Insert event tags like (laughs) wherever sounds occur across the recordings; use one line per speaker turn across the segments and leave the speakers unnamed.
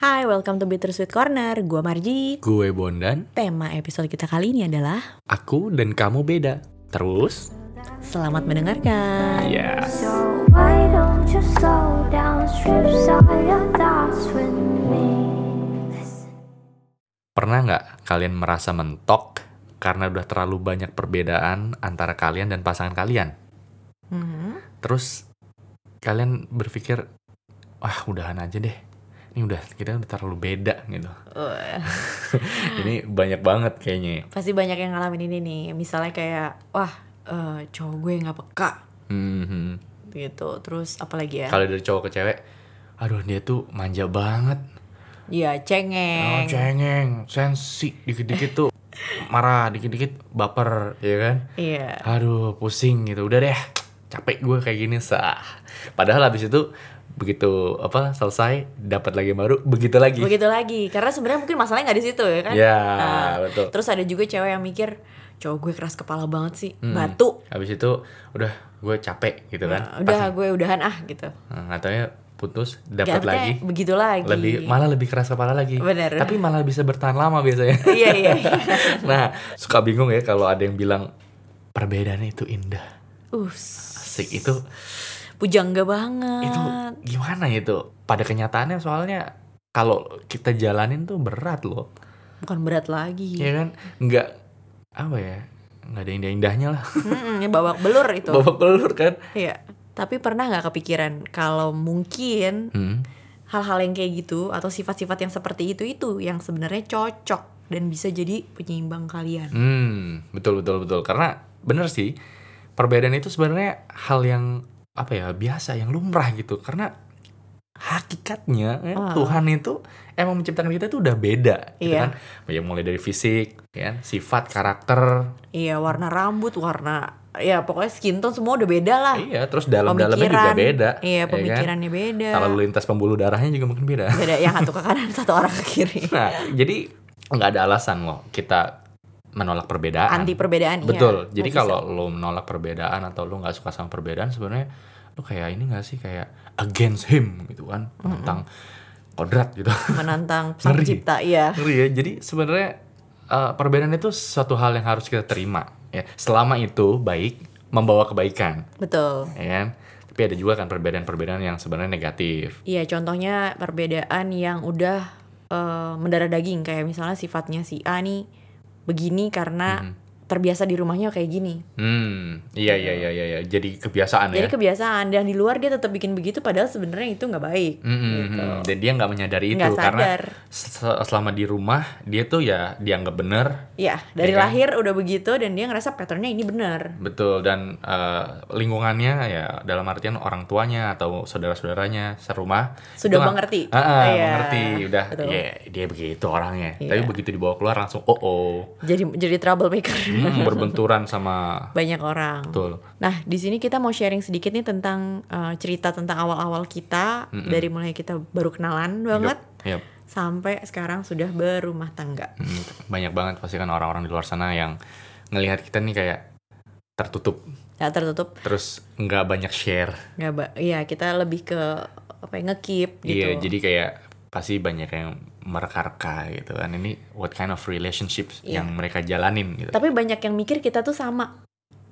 Hai, welcome to Bittersweet Corner. Gua Marji.
Gue Bondan,
Tema episode kita kali ini adalah
aku dan kamu beda. Terus? Ya,
selamat mendengarkan.
Yes.
So why don't you slow down, strip all your thoughts with me?
Pernah nggak kalian merasa mentok karena udah terlalu banyak perbedaan antara kalian dan pasangan kalian?
Mhm.
Terus kalian berpikir, wah udahan aja deh. Ini udah kita udah terlalu beda gitu.
Uh,
Ini banyak banget kayaknya. ya.
pasti banyak yang ngalamin ini nih. Misalnya kayak, wah, eh, cowok gue nggak peka
Mhm.
gitu. Terus apalagi ya?
Kalau dari cowok ke cewek, aduh dia tuh manja banget.
Ya
Oh,
cengeng.
cengeng, sensi, dikit-dikit tuh marah, dikit-dikit baper, ya kan?
Iya.
aduh pusing gitu udah deh capek gue kayak gini sah padahal habis itu begitu apa selesai dapat lagi yang baru begitu lagi
Begitu lagi. Karena sebenarnya mungkin masalahnya nggak di situ ya kan?
ya
Nah,
betul
Terus ada juga cewek yang mikir, cowok gue keras kepala banget sih,
Hmm.
batu.
habis itu udah gue capek gitu kan
Nah, udah gue udahan ah gitu.
katanya putus dapat
Dapetnya
lagi
Begitu lagi.
lebih malah lebih keras kepala lagi
Bener.
tapi malah bisa bertahan lama biasanya
(laughs) Iya iya. iya.
(laughs) nah suka bingung ya kalau ada yang bilang perbedaan itu indah
Us.
asik itu
pujangga banget.
itu gimana itu pada kenyataannya soalnya kalau kita jalanin tuh berat loh
Bukan berat lagi.
ya kan nggak apa ya nggak ada indah indahnya lah
Mm-mm, ya babak belur itu.
(laughs) babak belur kan
Iya. Tapi pernah nggak kepikiran kalau mungkin
hmm.
hal-hal yang kayak gitu atau sifat-sifat yang seperti itu itu yang sebenarnya cocok dan bisa jadi penyeimbang kalian.
Hmm, betul betul betul karena bener sih perbedaan itu sebenarnya hal yang apa ya biasa yang lumrah gitu karena hakikatnya ya,
Ah.
Tuhan itu emang menciptakan kita tuh udah beda gitu
Iya.
kan ya mulai dari fisik ya kan, sifat karakter
Iya, warna rambut, warna ya pokoknya skin tone semua udah beda lah.
Iya, terus dalam-dalamnya juga beda.
Iya,
ya kan?
pemikirannya beda.
Kalau lalu lintas pembuluh darahnya juga mungkin beda.
Beda yang satu ke kanan, satu orang ke
(laughs)
kiri.
Nah, jadi nggak ada alasan loh kita menolak perbedaan.
Anti perbedaan iya.
Betul. Jadi
Nggak bisa.
kalau lo menolak perbedaan atau lo nggak suka sama perbedaan sebenarnya lo kayak ini nggak sih kayak against him gitu kan, tentang kodrat gitu. (laughs)
menantang sang
Ngeri.
pencipta, iya.
Ngeri ya. Jadi sebenarnya eh, perbedaan itu suatu hal yang harus kita terima ya. Selama itu baik membawa kebaikan,
Betul.
ya kan? Tapi ada juga kan perbedaan-perbedaan yang sebenarnya negatif.
Iya, contohnya perbedaan yang udah eh, mendarah daging kayak misalnya sifatnya si A nih begini karena
Mm-hmm.
terbiasa di rumahnya kayak gini.
Hmm, iya iya iya iya, iya. jadi kebiasaan
Jadi
ya.
kebiasaan dan di luar dia tetap bikin begitu padahal sebenarnya itu nggak baik.
Mm, mm,
gitu.
mm. Dan dia nggak menyadari itu
Nggak
karena
sadar.
se- selama di rumah dia tuh ya dianggap bener,
Ya, dari
Iya kan?
lahir udah begitu dan dia ngerasa patternnya ini benar.
betul dan eh, lingkungannya ya dalam artian orang tuanya atau saudara-saudaranya serumah
Sudah
itu nggak-
mengerti.
Ah, ah,
Iya,
mengerti udah
betul.
ya dia begitu orangnya.
Iya.
Tapi begitu dibawa keluar langsung oh oh
Jadi jadi troublemaker (laughs)
Hmm, berbenturan sama
banyak orang.
betul.
Nah, di sini kita mau sharing sedikit nih tentang eh, cerita tentang awal-awal kita
Mm-mm.
dari mulai kita baru kenalan banget
Yap, yap.
sampai sekarang sudah berumah tangga.
Mm, banyak banget pasti kan orang-orang di luar sana yang ngelihat kita nih kayak tertutup
Ya tertutup
terus nggak banyak share
nggak ba- iya kita lebih ke apa ya ngekip gitu.
iya jadi kayak pasti banyak yang mereka-reka gitu kan ini what kind of relationships
Iya.
yang mereka jalanin gitu
Tapi banyak yang mikir kita tuh sama.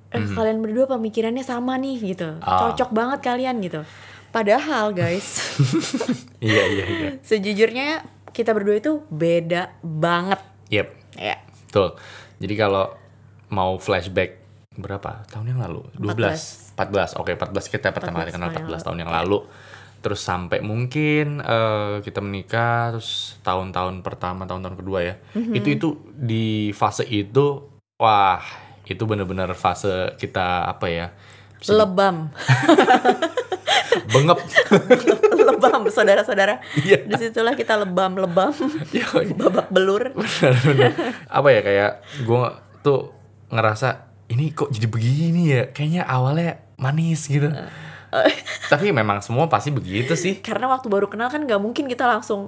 Eh,
Mhm.
Kalian berdua pemikirannya sama nih gitu.
Ah.
Cocok banget kalian gitu. Padahal guys,
(laughs) iya iya iya
sejujurnya kita berdua itu beda banget.
yep
Ya,
betul jadi kalau mau flashback berapa tahun yang lalu 12 14, oke 14 kita pertama kali
14
kenal
tahun yang
14
lalu.
tahun yang lalu terus sampai mungkin eh, kita menikah terus tahun-tahun pertama tahun-tahun kedua ya
Mm-hmm.
itu itu di fase itu wah itu bener-bener fase kita apa ya bisa
lebam, (laughs)
bengep
lebam saudara-saudara.
Iya.
Disitulah kita lebam-lebam, (laughs) babak belur.
Bener-bener. apa ya kayak gue tuh ngerasa ini kok jadi begini ya kayaknya awalnya manis gitu tapi memang semua pasti begitu sih
(laughs) karena waktu baru kenal kan nggak mungkin kita langsung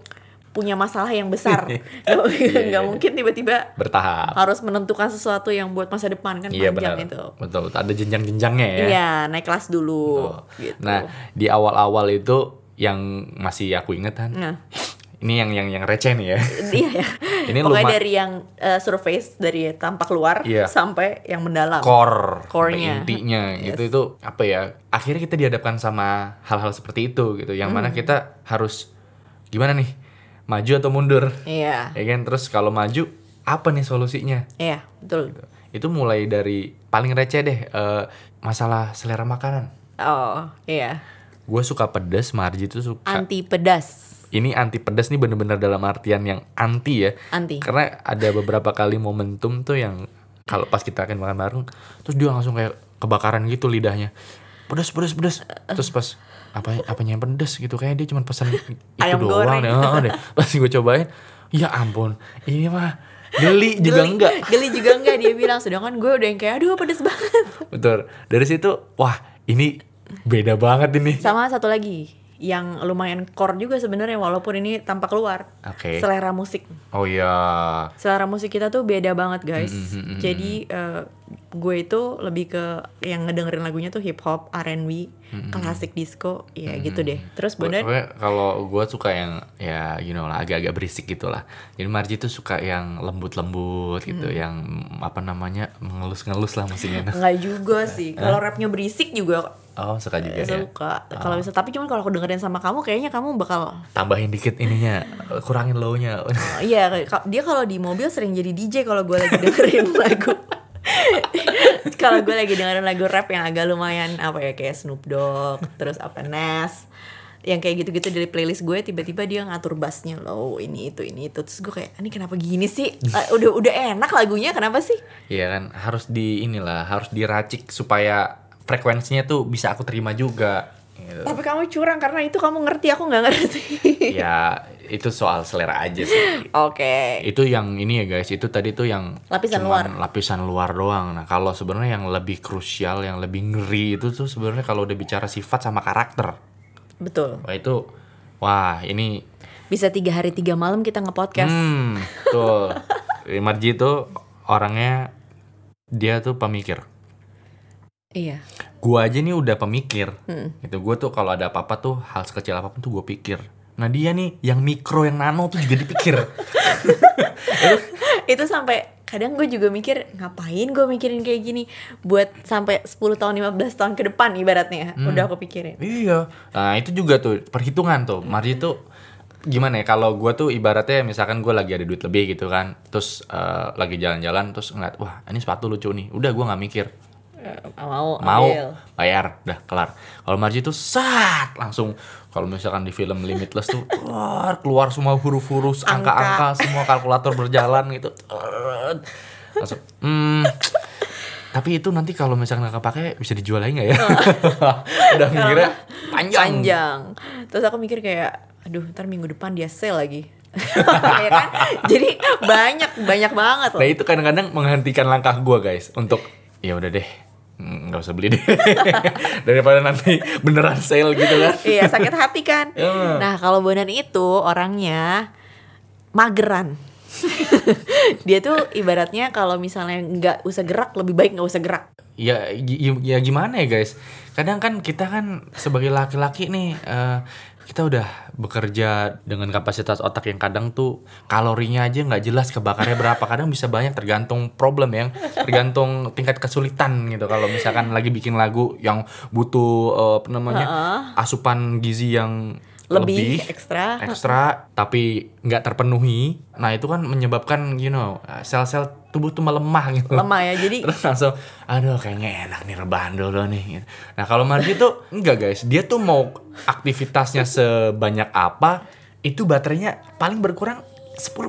punya masalah yang
(laughs)
besar nggak
Iya, iya.
nggak mungkin tiba-tiba
bertahap
harus menentukan sesuatu yang buat masa depan kan
iya
panjang
benar
itu
betul betul. ada jenjang-jenjangnya ya
iya naik kelas dulu
Betul.
gitu
nah di awal-awal itu yang masih aku inget kan
Nah, (laughs)
ini yang yang yang receh nih ya.
iya ya.
Ini
Pokoknya
luma-
dari yang eh, surface dari tampak luar
Iya.
sampai yang mendalam.
core, sampai
Core-nya.
intinya
Yes.
gitu itu apa ya? Akhirnya kita dihadapkan sama hal-hal seperti itu gitu, yang
Hmm.
mana kita harus gimana nih, maju atau mundur,
Iya.
ya kan? Terus kalau maju apa nih solusinya?
Iya, betul.
Itu mulai dari paling receh deh eh, masalah selera makanan.
Oh, iya.
Gue suka pedes, Marji tuh suka.
Anti pedas.
ini anti pedas nih bener-bener dalam artian yang anti ya.
Anti.
Karena ada beberapa kali momentum tuh yang kalau pas kita akan makan bareng, terus dia langsung kayak kebakaran gitu lidahnya. Pedas, pedas, pedas. Terus pas apa apanya yang pedas gitu kayaknya dia cuma
(laughs)
pesan itu
Ayam
doang
goreng.
deh. Heeh deh. Pas gue cobain, ya ampun, ini mah geli
(laughs)
juga
Geli-
enggak.
Geli juga enggak dia bilang sedangkan gue udah yang kayak aduh pedes banget.
(laughs) Betul. Dari situ, wah, ini beda banget ini.
Sama satu lagi yang lumayan core juga sebenarnya walaupun ini tampak luar.
Oke.
Selera musik.
Oh iya.
Selera musik kita tuh beda banget, guys. Jadi eh, gue itu lebih ke yang ngedengerin lagunya tuh hip hop, R&B, klasik disco, ya gitu deh. Terus bener
Pokoknya kalau gue suka yang ya you know lah agak-agak berisik gitu lah. Jadi Marji tuh suka yang lembut-lembut gitu, yang apa namanya mengelus-ngelus lah
(laughs)
musiknya.
nggak juga sih. Kalau rapnya berisik juga
oh suka juga
eh,
ya.
suka. Kalau bisa tapi cuman kalau aku dengerin sama kamu kayaknya kamu bakal
Tambahin dikit ininya, kurangin low-nya. (laughs)
Iya, ka- dia kalau di mobil sering jadi DJ kalau gue lagi dengerin (laughs) lagu. kalau gue lagi dengerin lagu rap yang agak lumayan apa ya kayak Snoop Dogg, terus apa Nas, yang kayak gitu-gitu dari playlist gue tiba-tiba dia ngatur bassnya loh ini itu ini itu terus gue kayak ini kenapa gini sih Eh, udah udah enak lagunya kenapa sih
Iya kan harus di inilah harus diracik supaya frekuensinya tuh bisa aku terima juga. Gitu.
tapi kamu curang karena itu kamu ngerti aku nggak ngerti (laughs)
ya itu soal selera aja sih.
oke
itu yang ini ya guys itu tadi tuh yang
Lapisan
cuman lapisan luar doang nah kalau sebenarnya yang lebih krusial yang lebih ngeri itu tuh sebenarnya kalau udah bicara sifat sama karakter
betul
wah itu wah ini
bisa tiga hari tiga malam kita ngepodcast
hmm tuh Marji tuh orangnya dia tuh pemikir
iya
gua aja nih udah pemikir gitu gua tuh kalau ada apa-apa tuh hal sekecil apapun tuh gua pikir nah dia nih yang mikro yang nano tuh juga dipikir
itu sampai kadang gue juga mikir ngapain gue mikirin kayak gini buat sampai 10 tahun 15 tahun ke depan ibaratnya ya,
Hmm.
udah aku pikirin
Iya. Nah itu juga tuh perhitungan tuh. Marji tuh gimana ya kalau gua tuh ibaratnya misalkan gua lagi ada duit lebih gitu kan, terus eh, lagi jalan-jalan terus ngeliat wah ini sepatu lucu nih, udah gua nggak mikir
Eh, mau
mau
ambil.
bayar udah kelar. Kalau Marji tuh saat langsung kalau misalkan di film Limitless tuh keluar keluar semua huruf-huruf
Angka.
angka-angka semua kalkulator berjalan gitu. Langsung hmm, tapi itu nanti kalau misalkan nggak kepake bisa dijual lagi nggak ya?
Oh.
(laughs) udah mikirnya panjang.
panjang terus aku mikir kayak aduh ntar minggu depan dia sale lagi (laughs) ya kan jadi banyak banyak banget
Nah
loh
itu kadang-kadang menghentikan langkah gua guys untuk ya udah deh mm, nggak usah beli deh (laughs) daripada nanti beneran sale gitu kan.
iya sakit hati kan
(laughs) Iya.
nah kalau Bonan itu orangnya mageran (laughs) dia tuh ibaratnya kalau misalnya nggak usah gerak lebih baik nggak usah gerak
Ya, gi- ya gimana ya guys? Kadang kan kita kan sebagai laki-laki nih eh, kita udah bekerja dengan kapasitas otak yang kadang tuh kalorinya aja nggak jelas kebakarnya berapa kadang bisa banyak tergantung problem yang tergantung tingkat kesulitan gitu kalau misalkan lagi bikin lagu yang butuh eh, apa namanya asupan gizi yang
lebih,
lebih
ekstra
ekstra tapi nggak terpenuhi nah itu kan menyebabkan you know sel-sel tubuh tuh melemah gitu
lemah ya jadi
(laughs) terus langsung aduh kayaknya enak nih rebahan dulu nih gitu. nah kalau Marji tuh enggak guys dia tuh mau aktivitasnya sebanyak apa itu baterainya paling berkurang 10%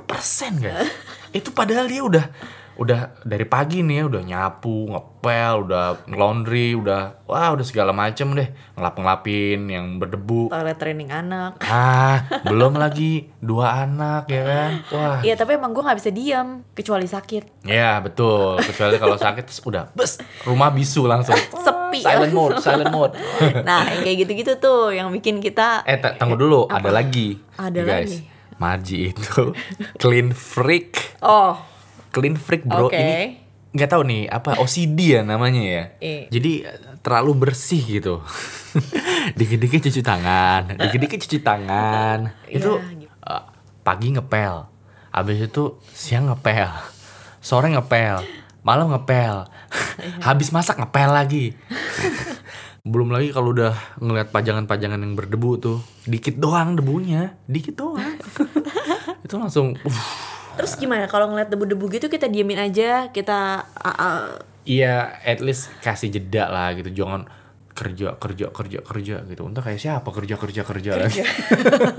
guys (laughs) itu padahal dia udah udah dari pagi nih ya, udah nyapu ngepel udah laundry udah wah udah segala macem deh ngelap ngelapin yang berdebu
toilet training anak
Ah, belum lagi dua anak ya kan? Wah.
Iya tapi emang gue nggak bisa diam kecuali sakit
Ya, betul. Kecuali kalau sakit terus udah bes, rumah bisu langsung.
Sepi
Silent
langsung.
mode, silent mode.
(laughs) nah yang kayak gitu-gitu tuh yang bikin kita
eh, ta- tunggu dulu, ada lagi.
Ada
guys.
lagi.
Marji itu (laughs) clean freak.
oh
Clean freak, Bro.
Oke.
Ini nggak tahu nih apa OCD ya namanya ya.
Iya.
Jadi terlalu bersih gitu. (laughs) dikit-dikit cuci tangan, dikit-dikit cuci tangan. Itu
Iya,
eh, pagi ngepel habis itu siang ngepel sore ngepel malam ngepel
Iya.
habis masak ngepel lagi (laughs) belum lagi kalau udah ngeliat pajangan-pajangan yang berdebu tuh dikit doang debunya dikit
(laughs)
doang itu langsung uh, uff.
Terus gimana kalau ngeliat debu-debu gitu kita diemin aja, kita ah, ah,
Iya, at least kasih jeda lah gitu. Jangan kerja kerja kerja kerja gitu. Entah kayak siapa kerja kerja kerja. lagi.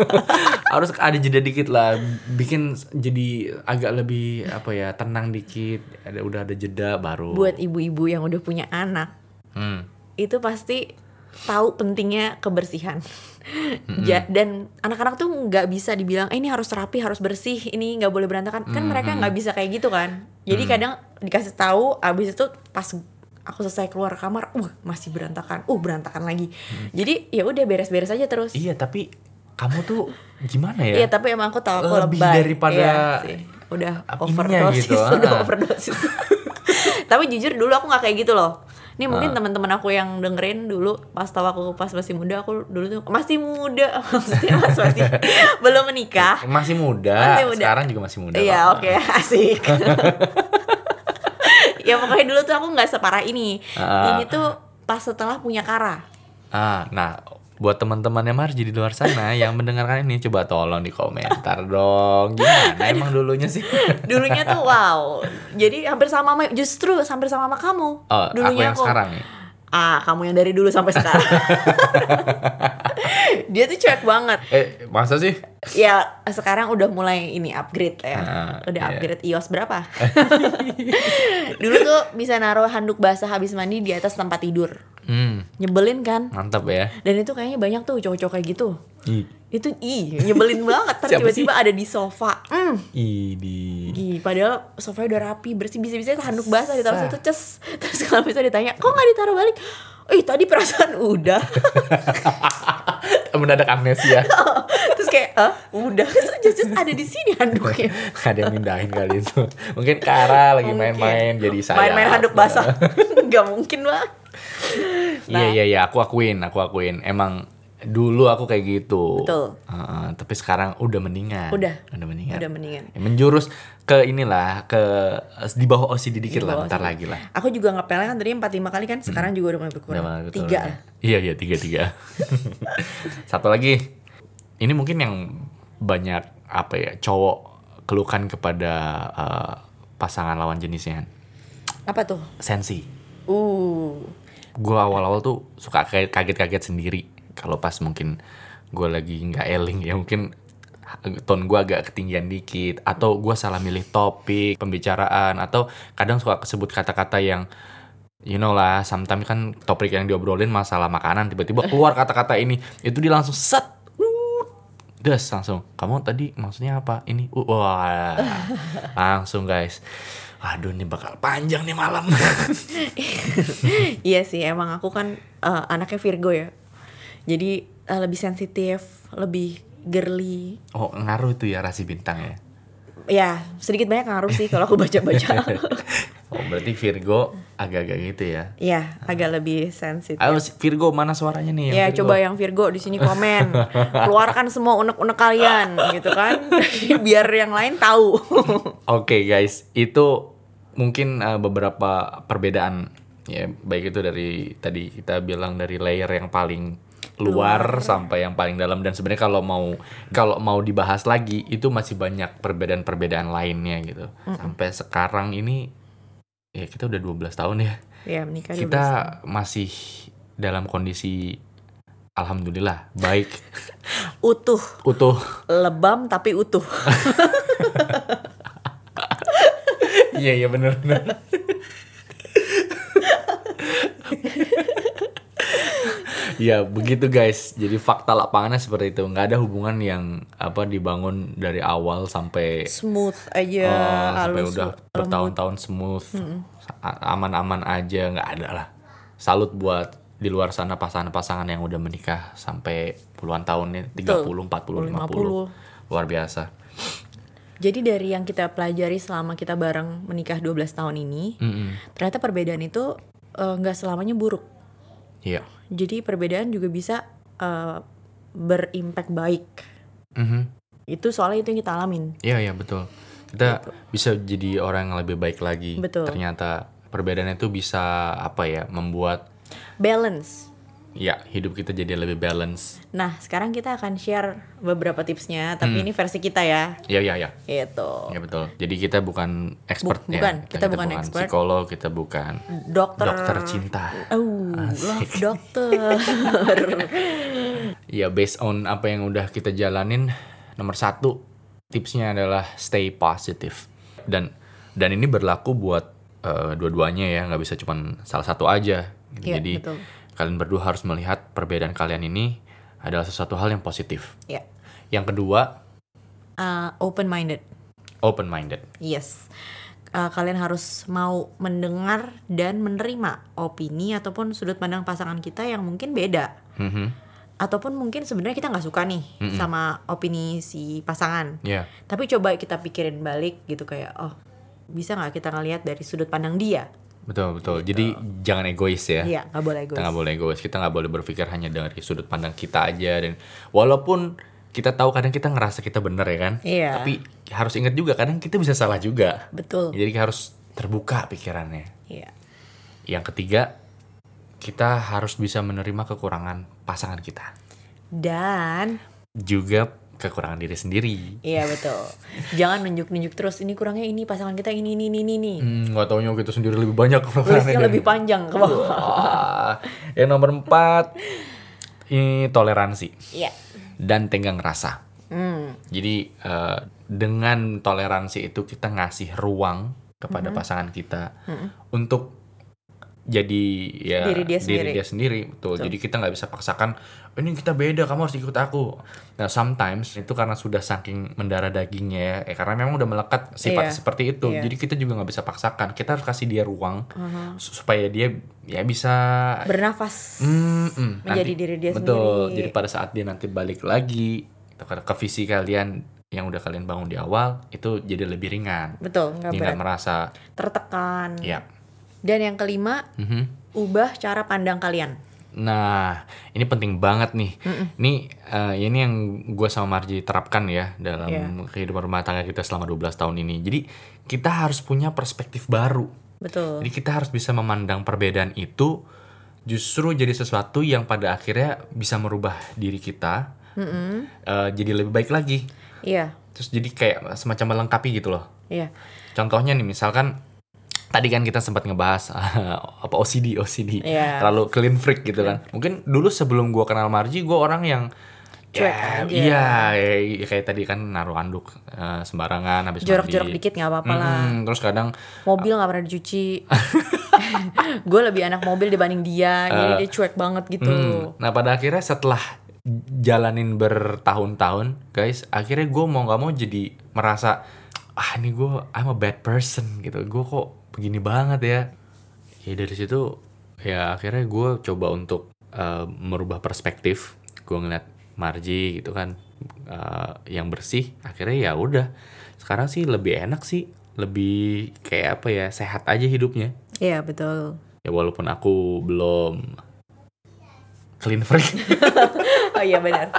(laughs) Harus ada jeda dikit lah. Bikin jadi agak lebih apa ya tenang dikit. Ada udah ada jeda baru.
buat ibu-ibu yang udah punya anak
Hmm.
itu pasti tahu pentingnya kebersihan. Ja- dan anak-anak tuh nggak bisa dibilang, eh ini harus rapi, harus bersih, ini nggak boleh berantakan. Kan mereka nggak bisa kayak gitu kan. Jadi kadang dikasih tahu, abis itu pas aku selesai keluar kamar, uh masih berantakan, uh berantakan lagi. Jadi ya udah beres-beres aja terus.
Iya tapi kamu tuh gimana ya?
Iya tapi emang aku tahu aku
Lebih
lebay.
daripada
Iya sih. udah
ininya
overdosis,
gitu,
(laughs) udah
ah.
overdosis. tapi jujur dulu aku nggak kayak gitu loh. Ini mungkin
Ah.
teman-teman aku yang dengerin dulu pas tahu aku pas masih muda aku dulu tuh masih muda (laughs) maksudnya mas-
(laughs)
masih belum menikah.
Masih muda.
Masih muda.
Sekarang juga masih muda.
Iya
kok.
oke (laughs) asik. ya pokoknya dulu tuh aku nggak separah ini.
Ah.
Ini tuh pas setelah punya Kara.
Ah, nah buat teman-teman yang harus jadi luar sana yang mendengarkan ini coba tolong di komentar dong gimana emang dulunya sih
Dulunya tuh wow. Jadi hampir sama sama- justru hampir sama sama kamu.
oh aku
Dulunya
yang sekarang nih
Ah, kamu yang dari dulu sampai sekarang.
(laughs)
dia tuh cuek banget.
eh masa sih
Ya, sekarang udah mulai ini upgrade lah ya.
Ah,
udah
iya.
upgrade iOS
(laughs)
berapa? (laughs) dulu tuh bisa naruh handuk basah habis mandi di atas tempat tidur.
hmm
Nyebelin kan?
mantap ya
Dan itu kayaknya banyak tuh cowok-cowok kayak gitu.
i
Itu ih,
(laughs)
nyebelin banget. Ntar
Siapa
tiba-tiba ada di sofa. Mm.
i di
Ih, padahal sofanya udah rapi, bersih, bisa-bisa itu handuk basah ditaruh
Sah.
situ, ces. (laughs) Terus kalau bisa ditanya, kok nggak ditaruh balik? Ih, tadi perasaan udah.
(laughs) (laughs) mendadak
(laughs)
amnesia
terus kayak eh udah terus just, just ada di sini handuknya
(laughs) ada yang mindahin kali itu mungkin Kara lagi
Mungkin.
main-main jadi saya
main-main handuk basah (laughs) nggak mungkin lah
(laughs) iya iya iya aku akuin aku akuin emang dulu aku kayak gitu
Betul.
Heeh, tapi sekarang udah mendingan
Udah.
udah mendingan
udah mendingan
Ya, menjurus ke inilah ke di bawah OCD dikit lah
bawah
bentar
OCD.
lagi lah
aku juga ngepelnya kan tadi empat lima kali kan sekarang juga udah mulai
Udah
berkurang
banget, betul.
tiga lah
iya iya tiga tiga satu lagi ini mungkin yang banyak apa ya cowok keluhkan kepada eh, pasangan lawan jenisnya
apa tuh
sensi
uh
gue awal-awal tuh suka kayak kaget-kaget sendiri kalau pas mungkin gue lagi nggak eling ya mungkin tone gue agak ketinggian dikit atau gue salah milih topik pembicaraan atau kadang suka kesebut kata-kata yang you know lah sometimes kan topik yang diobrolin masalah makanan tiba-tiba keluar kata-kata ini itu dia langsung set wuut, des langsung kamu tadi maksudnya apa ini Uh, wah langsung guys aduh ini bakal panjang nih malam (laughs)
iya sih emang aku kan eh, anaknya Virgo ya jadi eh, lebih sensitif lebih girly
Oh, ngaruh itu ya rasi bintang ya.
ya sedikit banyak ngaruh sih kalau aku baca
(laughs)
baca
Oh, berarti Virgo agak-agak gitu ya.
ya agak lebih sensitif
Ayo si Virgo mana suaranya nih? yang
Ya
Virgo?
coba yang Virgo di sini komen,
(laughs)
keluarkan semua unek-unek kalian gitu kan, (laughs) biar yang lain
(laughs)
tahu.
Oke, guys. Itu mungkin eh, beberapa perbedaan ya, baik itu dari tadi kita bilang dari layer yang paling luar sampai yang paling dalam dan sebenarnya kalau mau kalau mau dibahas lagi itu masih banyak perbedaan-perbedaan lainnya gitu. Sampai sekarang ini ya kita udah 12 tahun ya.
ya menikah dulu.
kita masih dalam kondisi alhamdulillah baik
utuh,
utuh
lebam tapi utuh.
(laughs) iya iya bener bener ya begitu guys jadi fakta lapangannya seperti itu nggak ada hubungan yang apa dibangun dari awal sampai
Smooth aja,
Oh, sampai
Iya, halus,
udah
lembut.
bertahun-tahun smooth, a- aman-aman aja, nggak ada lah. Salut buat di luar sana pasangan-pasangan yang udah menikah sampai puluhan ya. tahunnya, 30, 40, 50.
50.
Luar biasa.
Jadi dari yang kita pelajari selama kita bareng menikah 12 tahun ini,
Mm-mm.
ternyata perbedaan itu eh, nggak selamanya buruk.
Iya.
Jadi perbedaan juga bisa eh, berimpact baik.
Mhm.
Itu soalnya itu yang kita alamin.
Iya iya betul. Kita bisa jadi orang yang lebih baik lagi.
Gitu. Betul.
Ternyata perbedaannya itu bisa apa ya membuat
Balance.
ya hidup kita jadi lebih balance.
Nah, sekarang kita akan share beberapa tipsnya, tapi
Hmm.
ini versi kita ya.
Iya iya iya.
Gitu.
Ya betul. Jadi kita bukan expert
Buk-
ya.
bukan. Kita bukan expert.
psikolog, kita bukan
Dokter.
dokter cinta.
Oh, love dokter. (laughs)
Ya based on apa yang udah kita jalanin, nomor satu tipsnya adalah stay positive. Dan dan ini berlaku buat eh, dua-duanya ya, nggak bisa cuman salah satu aja. Gitu.
Iya,
Jadi
betul.
kalian berdua harus melihat perbedaan kalian ini adalah sesuatu hal yang positif.
ya.
Yang kedua
open minded.
open minded.
Yes. Uh, kalian harus mau mendengar dan menerima opini ataupun sudut pandang pasangan kita yang mungkin beda
Mm-hmm.
ataupun mungkin sebenarnya kita nggak suka nih sama opini si pasangan.
Ya
Tapi coba kita pikirin balik gitu kayak oh bisa nggak kita ngelihat dari sudut pandang dia?
betul betul. Jadi jangan egois ya.
Iya nggak boleh egois.
Kita nggak boleh egois, kita nggak boleh berpikir hanya dari sudut pandang kita aja dan walaupun kita tahu kadang kita ngerasa kita bener ya kan,
Iya.
tapi harus ingat juga kadang kita bisa salah juga.
Betul.
Jadi harus terbuka pikirannya.
Iya.
Yang ketiga, kita harus bisa menerima kekurangan pasangan kita,
Dan
juga kekurangan diri sendiri.
iya betul. Jangan nunjuk-nunjuk terus ini kurangnya ini pasangan kita ini ini ini ini. ini.
Hmm, nggak taunya kita sendiri lebih banyak kekurangannya.
Listnya
(laughs)
lebih panjang ke bawah.
Wah. Yang nomor empat, ini toleransi.
Iya.
dan tenggang rasa.
Hmm.
Jadi eh, dengan toleransi itu kita ngasih ruang kepada
Hmm.
pasangan kita untuk jadi ya
Diri dia sendiri.
dia sendiri, betul. Jadi kita nggak bisa paksakan "Oh, ini kita beda, kamu harus ikut aku. Nah, sometimes itu karena sudah saking mendarah dagingnya ya, eh, karena memang udah melekat sifatnya
Iya.
seperti itu.
Iya. Hmm.
Jadi kita juga nggak bisa paksakan. Kita harus kasih dia ruang su- supaya dia ya bisa
Bernafas.
Mm-mm.
Menjadi diri dia
betul.
sendiri.
Jadi pada saat dia nanti balik lagi ke, ke visi kalian yang udah kalian bangun di awal itu jadi lebih ringan.
Betul, nggak
Dia
berat.
nggak merasa
Tertekan.
ya.
Dan yang kelima,
mhm.
ubah cara pandang kalian.
Nah, ini penting banget nih. Ini eh, ini yang gue sama Marji terapkan ya dalam
Iya.
kehidupan rumah tangga kita selama 12 tahun ini. Jadi kita harus punya perspektif baru.
Betul.
Jadi kita harus bisa memandang perbedaan itu justru jadi sesuatu yang pada akhirnya bisa merubah diri kita eh, jadi lebih baik lagi.
Iya,
Terus jadi kayak semacam melengkapi gitu loh.
iya.
Contohnya nih misalkan tadi kan kita sempat ngebahas (laughs) apa OCD OCD
Iya.
terlalu clean freak gitu kan. Mungkin dulu sebelum gua kenal Marji gua orang yang
Cuek
ya,
aja.
iya, ya, kayak tadi kan naruh anduk eh, sembarangan habis
Jorok-jorok
mandi.
dikit nggak apa-apa lah.
Iya. Mm-mm, terus kadang
Mobil nggak pernah dicuci. (laughs) Gue lebih anak mobil dibanding dia,
Ah.
jadi dia cuek banget gitu.
Hmm. Nah pada akhirnya setelah jalanin bertahun-tahun, guys, akhirnya gue mau nggak mau jadi merasa ah ini gue I'm a bad person gitu, gue kok begini banget ya. Ya dari situ ya akhirnya gue coba untuk eh, merubah perspektif, gue ngeliat Marji gitu kan eh, yang bersih, akhirnya ya udah. Sekarang sih lebih enak sih, lebih kayak apa ya sehat aja hidupnya
Iya, betul.
ya walaupun aku belum clean
(laughs)
freak Ya,
Oh iya benar.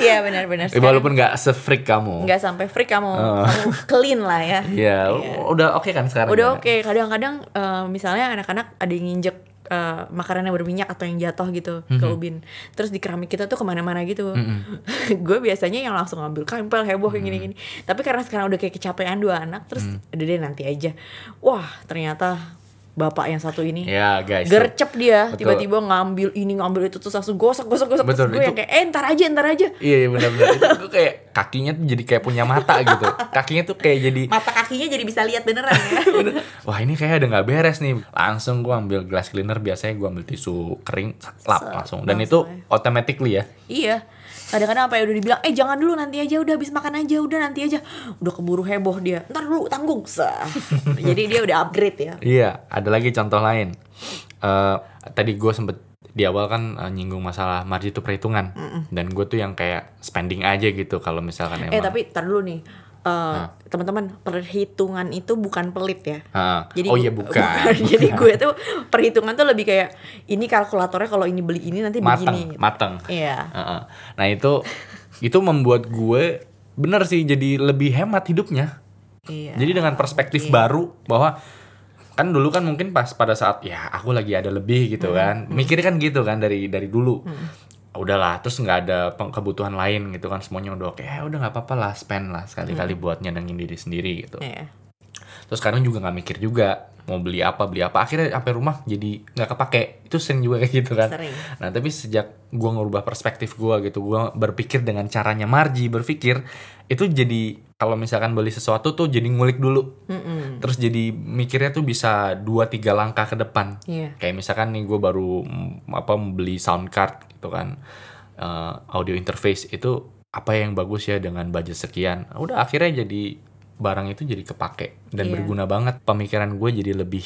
Iya benar-benar.
Eh, walaupun Oh. nggak se freak kamu
nggak sampai freak kamu, kamu clean lah ya.
ya udah oke kan sekarang
Udah
ya?
oke, kadang-kadang eh, misalnya anak-anak ada yang nginjek eh, makanan yang berminyak atau yang jatuh gitu ke
Mhm.
ubin terus di keramik kita tuh kemana-mana gitu
Mhm.
(laughs) gue biasanya yang langsung ngambil kampel heboh kayak gini-gini tapi karena sekarang udah kayak kecapean dua anak terus
Mhm.
udah deh nanti aja wah ternyata bapak yang satu ini
ya guys
gercep dia
Betul.
tiba-tiba ngambil ini ngambil itu terus langsung gosok gosok gosok
Betul,
gue yang
itu-
kayak eh ntar aja ntar aja
iya iya, benar-benar itu gue kayak kakinya tuh jadi kayak punya mata gitu kakinya tuh kayak jadi
mata kakinya jadi bisa lihat beneran
(laughs)
ya
wah ini kayak ada nggak beres nih langsung gue ambil glass cleaner biasanya gue ambil tisu kering lap
Set,
langsung dan
langsung
itu
ya.
automatically ya
Iya. Kadang-kadang apa ya udah dibilang, eh jangan dulu nanti aja, udah habis makan aja, udah nanti aja. Udah keburu heboh dia. Ntar dulu tanggung.
(laughs)
Sah. Jadi dia udah upgrade ya.
Iya, ada lagi contoh lain. Eh, tadi gue sempet di awal kan eh, nyinggung masalah margin itu perhitungan, dan gue tuh yang kayak spending aja gitu kalau misalkan emang.
Eh tapi ntar dulu nih. Eh, teman-teman perhitungan itu bukan pelit ya.
Ah,
Jadi
oh
gu- (laughs)
iya bukan.
Jadi gue tuh perhitungan tuh lebih kayak ini kalkulatornya kalau ini beli ini nanti Iya.
mateng,
begini.
mateng.
Iya.
Heeh. Nah itu itu membuat gue bener sih jadi lebih hemat hidupnya
Iya.
jadi dengan perspektif baru bahwa kan dulu kan mungkin pas pada saat ya aku lagi ada lebih gitu
Hmm.
kan mikirnya kan gitu kan dari dari dulu udahlah terus nggak ada peng- kebutuhan lain gitu kan semuanya udah oke ya udah nggak apa-apa lah spend lah sekali-kali buat nyenengin diri sendiri gitu
Hmm. Iya.
terus kadang juga nggak mikir juga mau beli apa beli apa akhirnya sampai rumah jadi nggak kepake itu sering juga kayak gitu kan
Sering.
nah tapi sejak gua ngerubah perspektif gua gitu gua berpikir dengan caranya Marji berpikir itu jadi kalau misalkan beli sesuatu tuh jadi ngulik dulu
Mm-mm.
terus jadi mikirnya tuh bisa dua tiga langkah ke depan
Iya.
kayak misalkan nih gue baru mm, apa membeli sound card gitu kan Eh, audio interface itu apa yang bagus ya dengan budget sekian udah akhirnya jadi barang itu jadi kepake dan
Iya.
berguna banget pemikiran gue jadi lebih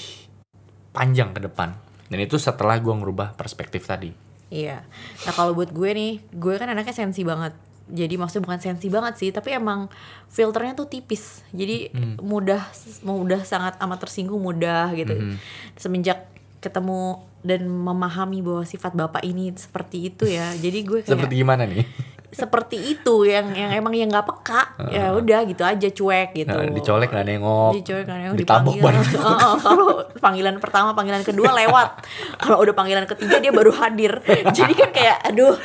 panjang ke depan dan itu setelah gue ngerubah perspektif tadi
Iya. Nah kalau buat gue nih, gue kan anaknya sensi banget. Jadi maksudnya bukan sensi banget sih, tapi emang filternya tuh tipis. Jadi
Hmm.
mudah, mudah sangat amat tersinggung mudah gitu.
Hmm.
Semenjak ketemu dan memahami bahwa sifat bapak ini seperti itu ya. Jadi gue kayak
seperti gimana nih
seperti itu yang yang emang yang nggak peka ya udah gitu aja cuek gitu
Ah. Nah, dicolek nggak nengok
Jujur karena yang
ditabok
dipanggil.
baru nengok.
Heeh, (laughs) kalau panggilan pertama, panggilan kedua lewat. kalau udah panggilan ketiga dia baru (laughs) hadir. Jadi kan kayak aduh,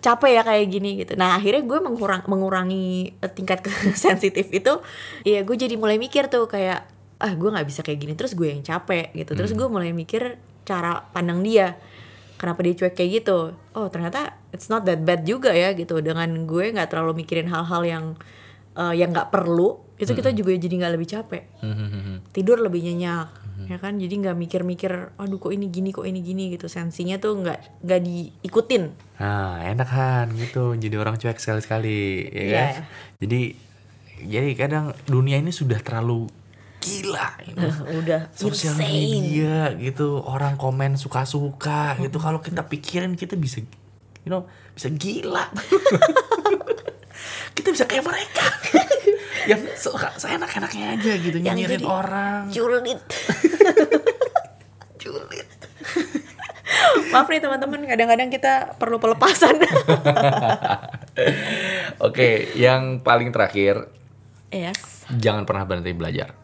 capek ya kayak gini gitu. Nah, akhirnya gue mengurang mengurangi eh, tingkat (laughs) sensitif itu. Iya, gue jadi mulai mikir tuh kayak ah gue nggak bisa kayak gini terus gue yang capek gitu terus gue mulai mikir cara pandang dia kenapa dia cuek kayak gitu oh ternyata it's not that bad juga ya gitu dengan gue nggak terlalu mikirin hal-hal yang eh, yang nggak perlu itu kita juga jadi nggak lebih capek tidur lebih nyenyak ya kan jadi nggak mikir-mikir aduh kok ini gini kok ini gini gitu sensinya tuh nggak nggak diikutin
Nah, enak kan gitu jadi orang cuek sekali-sekali, ya
Iya,
kan?
iya.
Jadi jadi kadang dunia ini sudah terlalu gila gitu.
udah
Sosial
insane
media gitu, orang komen suka-suka gitu. Kalau kita pikirin kita bisa you know, bisa
(laughs)
gila. kita bisa kayak mereka. yang suka seenak-enaknya aja gitu
Yang
nyinyirin
jadi-
orang. (laughs)
culit culit maaf nih teman-teman kadang-kadang kita perlu (laughs) pelepasan Ya.
Oke, yang paling terakhir,
yes
jangan pernah berhenti belajar.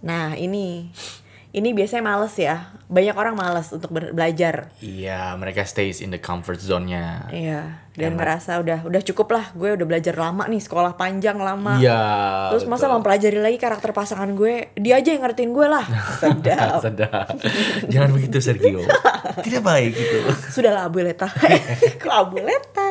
nah ini ini biasanya males ya banyak orang males untuk ber- belajar
Iya, mereka stays in the comfort zone-nya.
Iya, dan merasa udah udah cukup lah, gue udah belajar lama nih, sekolah panjang lama.
Iya.
Terus masa
betul.
mempelajari lagi karakter pasangan gue, dia aja yang ngertiin gue lah.
(laughs)
Sedap.
Sedap. Jangan begitu Sergio. Tidak baik gitu.
Sudahlah abueleta. (laughs) Kok abueleta?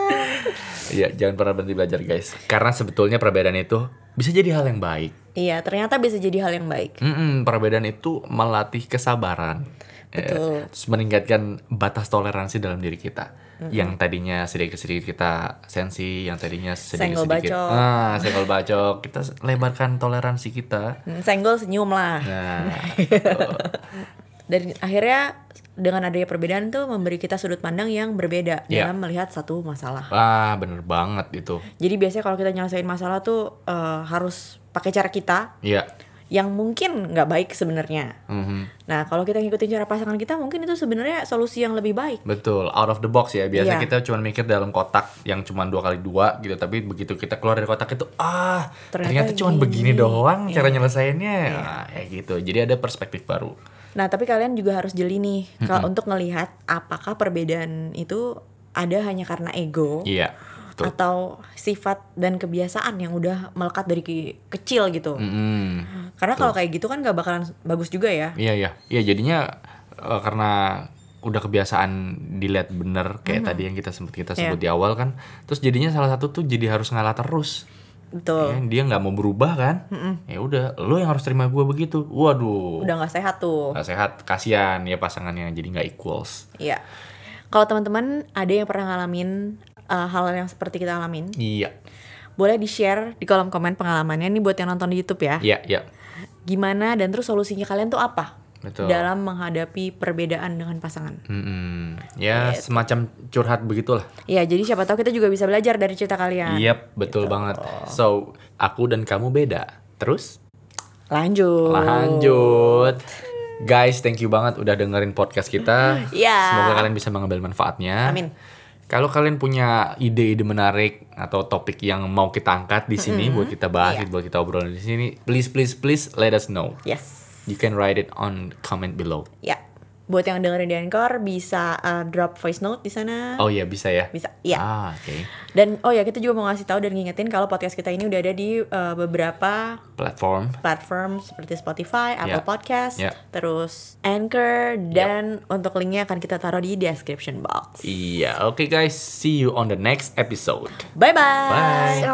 Iya, jangan pernah berhenti belajar guys. Karena sebetulnya perbedaan itu bisa jadi hal yang baik.
Iya, ternyata bisa jadi hal yang baik.
Mm-mm, perbedaan itu melatih kesabaran. Eh,
Betul.
terus meningkatkan batas toleransi dalam diri kita. Yang tadinya sedikit-sedikit kita sensi, yang tadinya
Senggol
sedikit-sedikit.
bacok.
Ah, senggol bacok. Kita lebarkan toleransi kita.
Hmm, Senggol senyum lah.
Nah, (laughs)
Dan akhirnya dengan adanya perbedaan tuh memberi kita sudut pandang yang berbeda
Iya.
dalam melihat satu masalah.
wah ah, bener banget itu.
Jadi biasanya kalau kita nyelesain masalah tuh eh, harus pakai cara kita
Iya.
yang mungkin nggak baik sebenarnya.
Mhm.
Nah, kalau kita ngikutin cara pasangan kita, mungkin itu sebenarnya solusi yang lebih baik.
Betul, out of the box ya.
Iya.
Biasa kita cuma mikir dalam kotak yang cuma dua kali dua gitu, tapi begitu kita keluar dari kotak itu, ah
Ternyata
ternyata, cuma
gini. Iya.
begini doang cara nyelesainnya, Ah, ya gitu. Jadi ada perspektif baru.
Nah, tapi kalian juga harus jeli nih kalau untuk ngelihat apakah perbedaan itu ada hanya karena ego
Iya, betul.
atau sifat dan kebiasaan yang udah melekat dari ke- kecil gitu.
Mm-mm.
Karena kalau kayak gitu kan gak bakalan bagus juga ya.
Mm, Iya iya, iya jadinya eh, karena udah kebiasaan dilihat bener kayak tadi yang kita sempat kita
Iya.
sebut di awal kan, terus jadinya salah satu tuh jadi harus ngalah terus.
Betul.
Ya, dia nggak mau berubah kan? Ya udah, lo yang harus terima gue begitu. Waduh.
Udah nggak sehat tuh.
nggak sehat kasihan ya pasangannya jadi nggak equals
Iya. Kalau teman-teman ada yang pernah ngalamin eh, hal yang seperti kita alamin,
iya
boleh di-share di kolom komen pengalamannya nih buat yang nonton di YouTube ya.
iya iya
gimana dan terus solusinya kalian tuh apa
Betul.
dalam menghadapi perbedaan dengan pasangan.
Mm-mm.
Iya,
ya semacam curhat begitulah
Ya, jadi siapa tahu kita juga bisa belajar dari cerita kalian.
Yap, betul banget so aku dan kamu beda terus
Lanjut.
lanjut Guys, thank you banget udah dengerin podcast kita.
Iya.
Semoga kalian bisa mengambil manfaatnya.
Amin.
Kalau kalian punya ide-ide menarik atau topik yang mau kita angkat di
Mm-hmm.
sini buat kita bahas,
Iya.
buat kita obrolin di sini, please please please let us know.
Yes.
You can write it on comment below.
Ya. Buat yang dengerin di Anchor bisa eh, drop voice note di sana.
Oh iya bisa ya.
Bisa. Iya.
Ah, oke.
Dan oh ya, kita juga mau ngasih tahu dan ngingetin kalau podcast kita ini udah ada di eh, beberapa
Platform.
platform seperti Spotify, Apple
Ya.
Podcast,
Ya.
terus Anchor dan untuk linknya akan kita taruh di description box.
Iya, oke guys, see you on the next episode.
Bye bye.
Bye.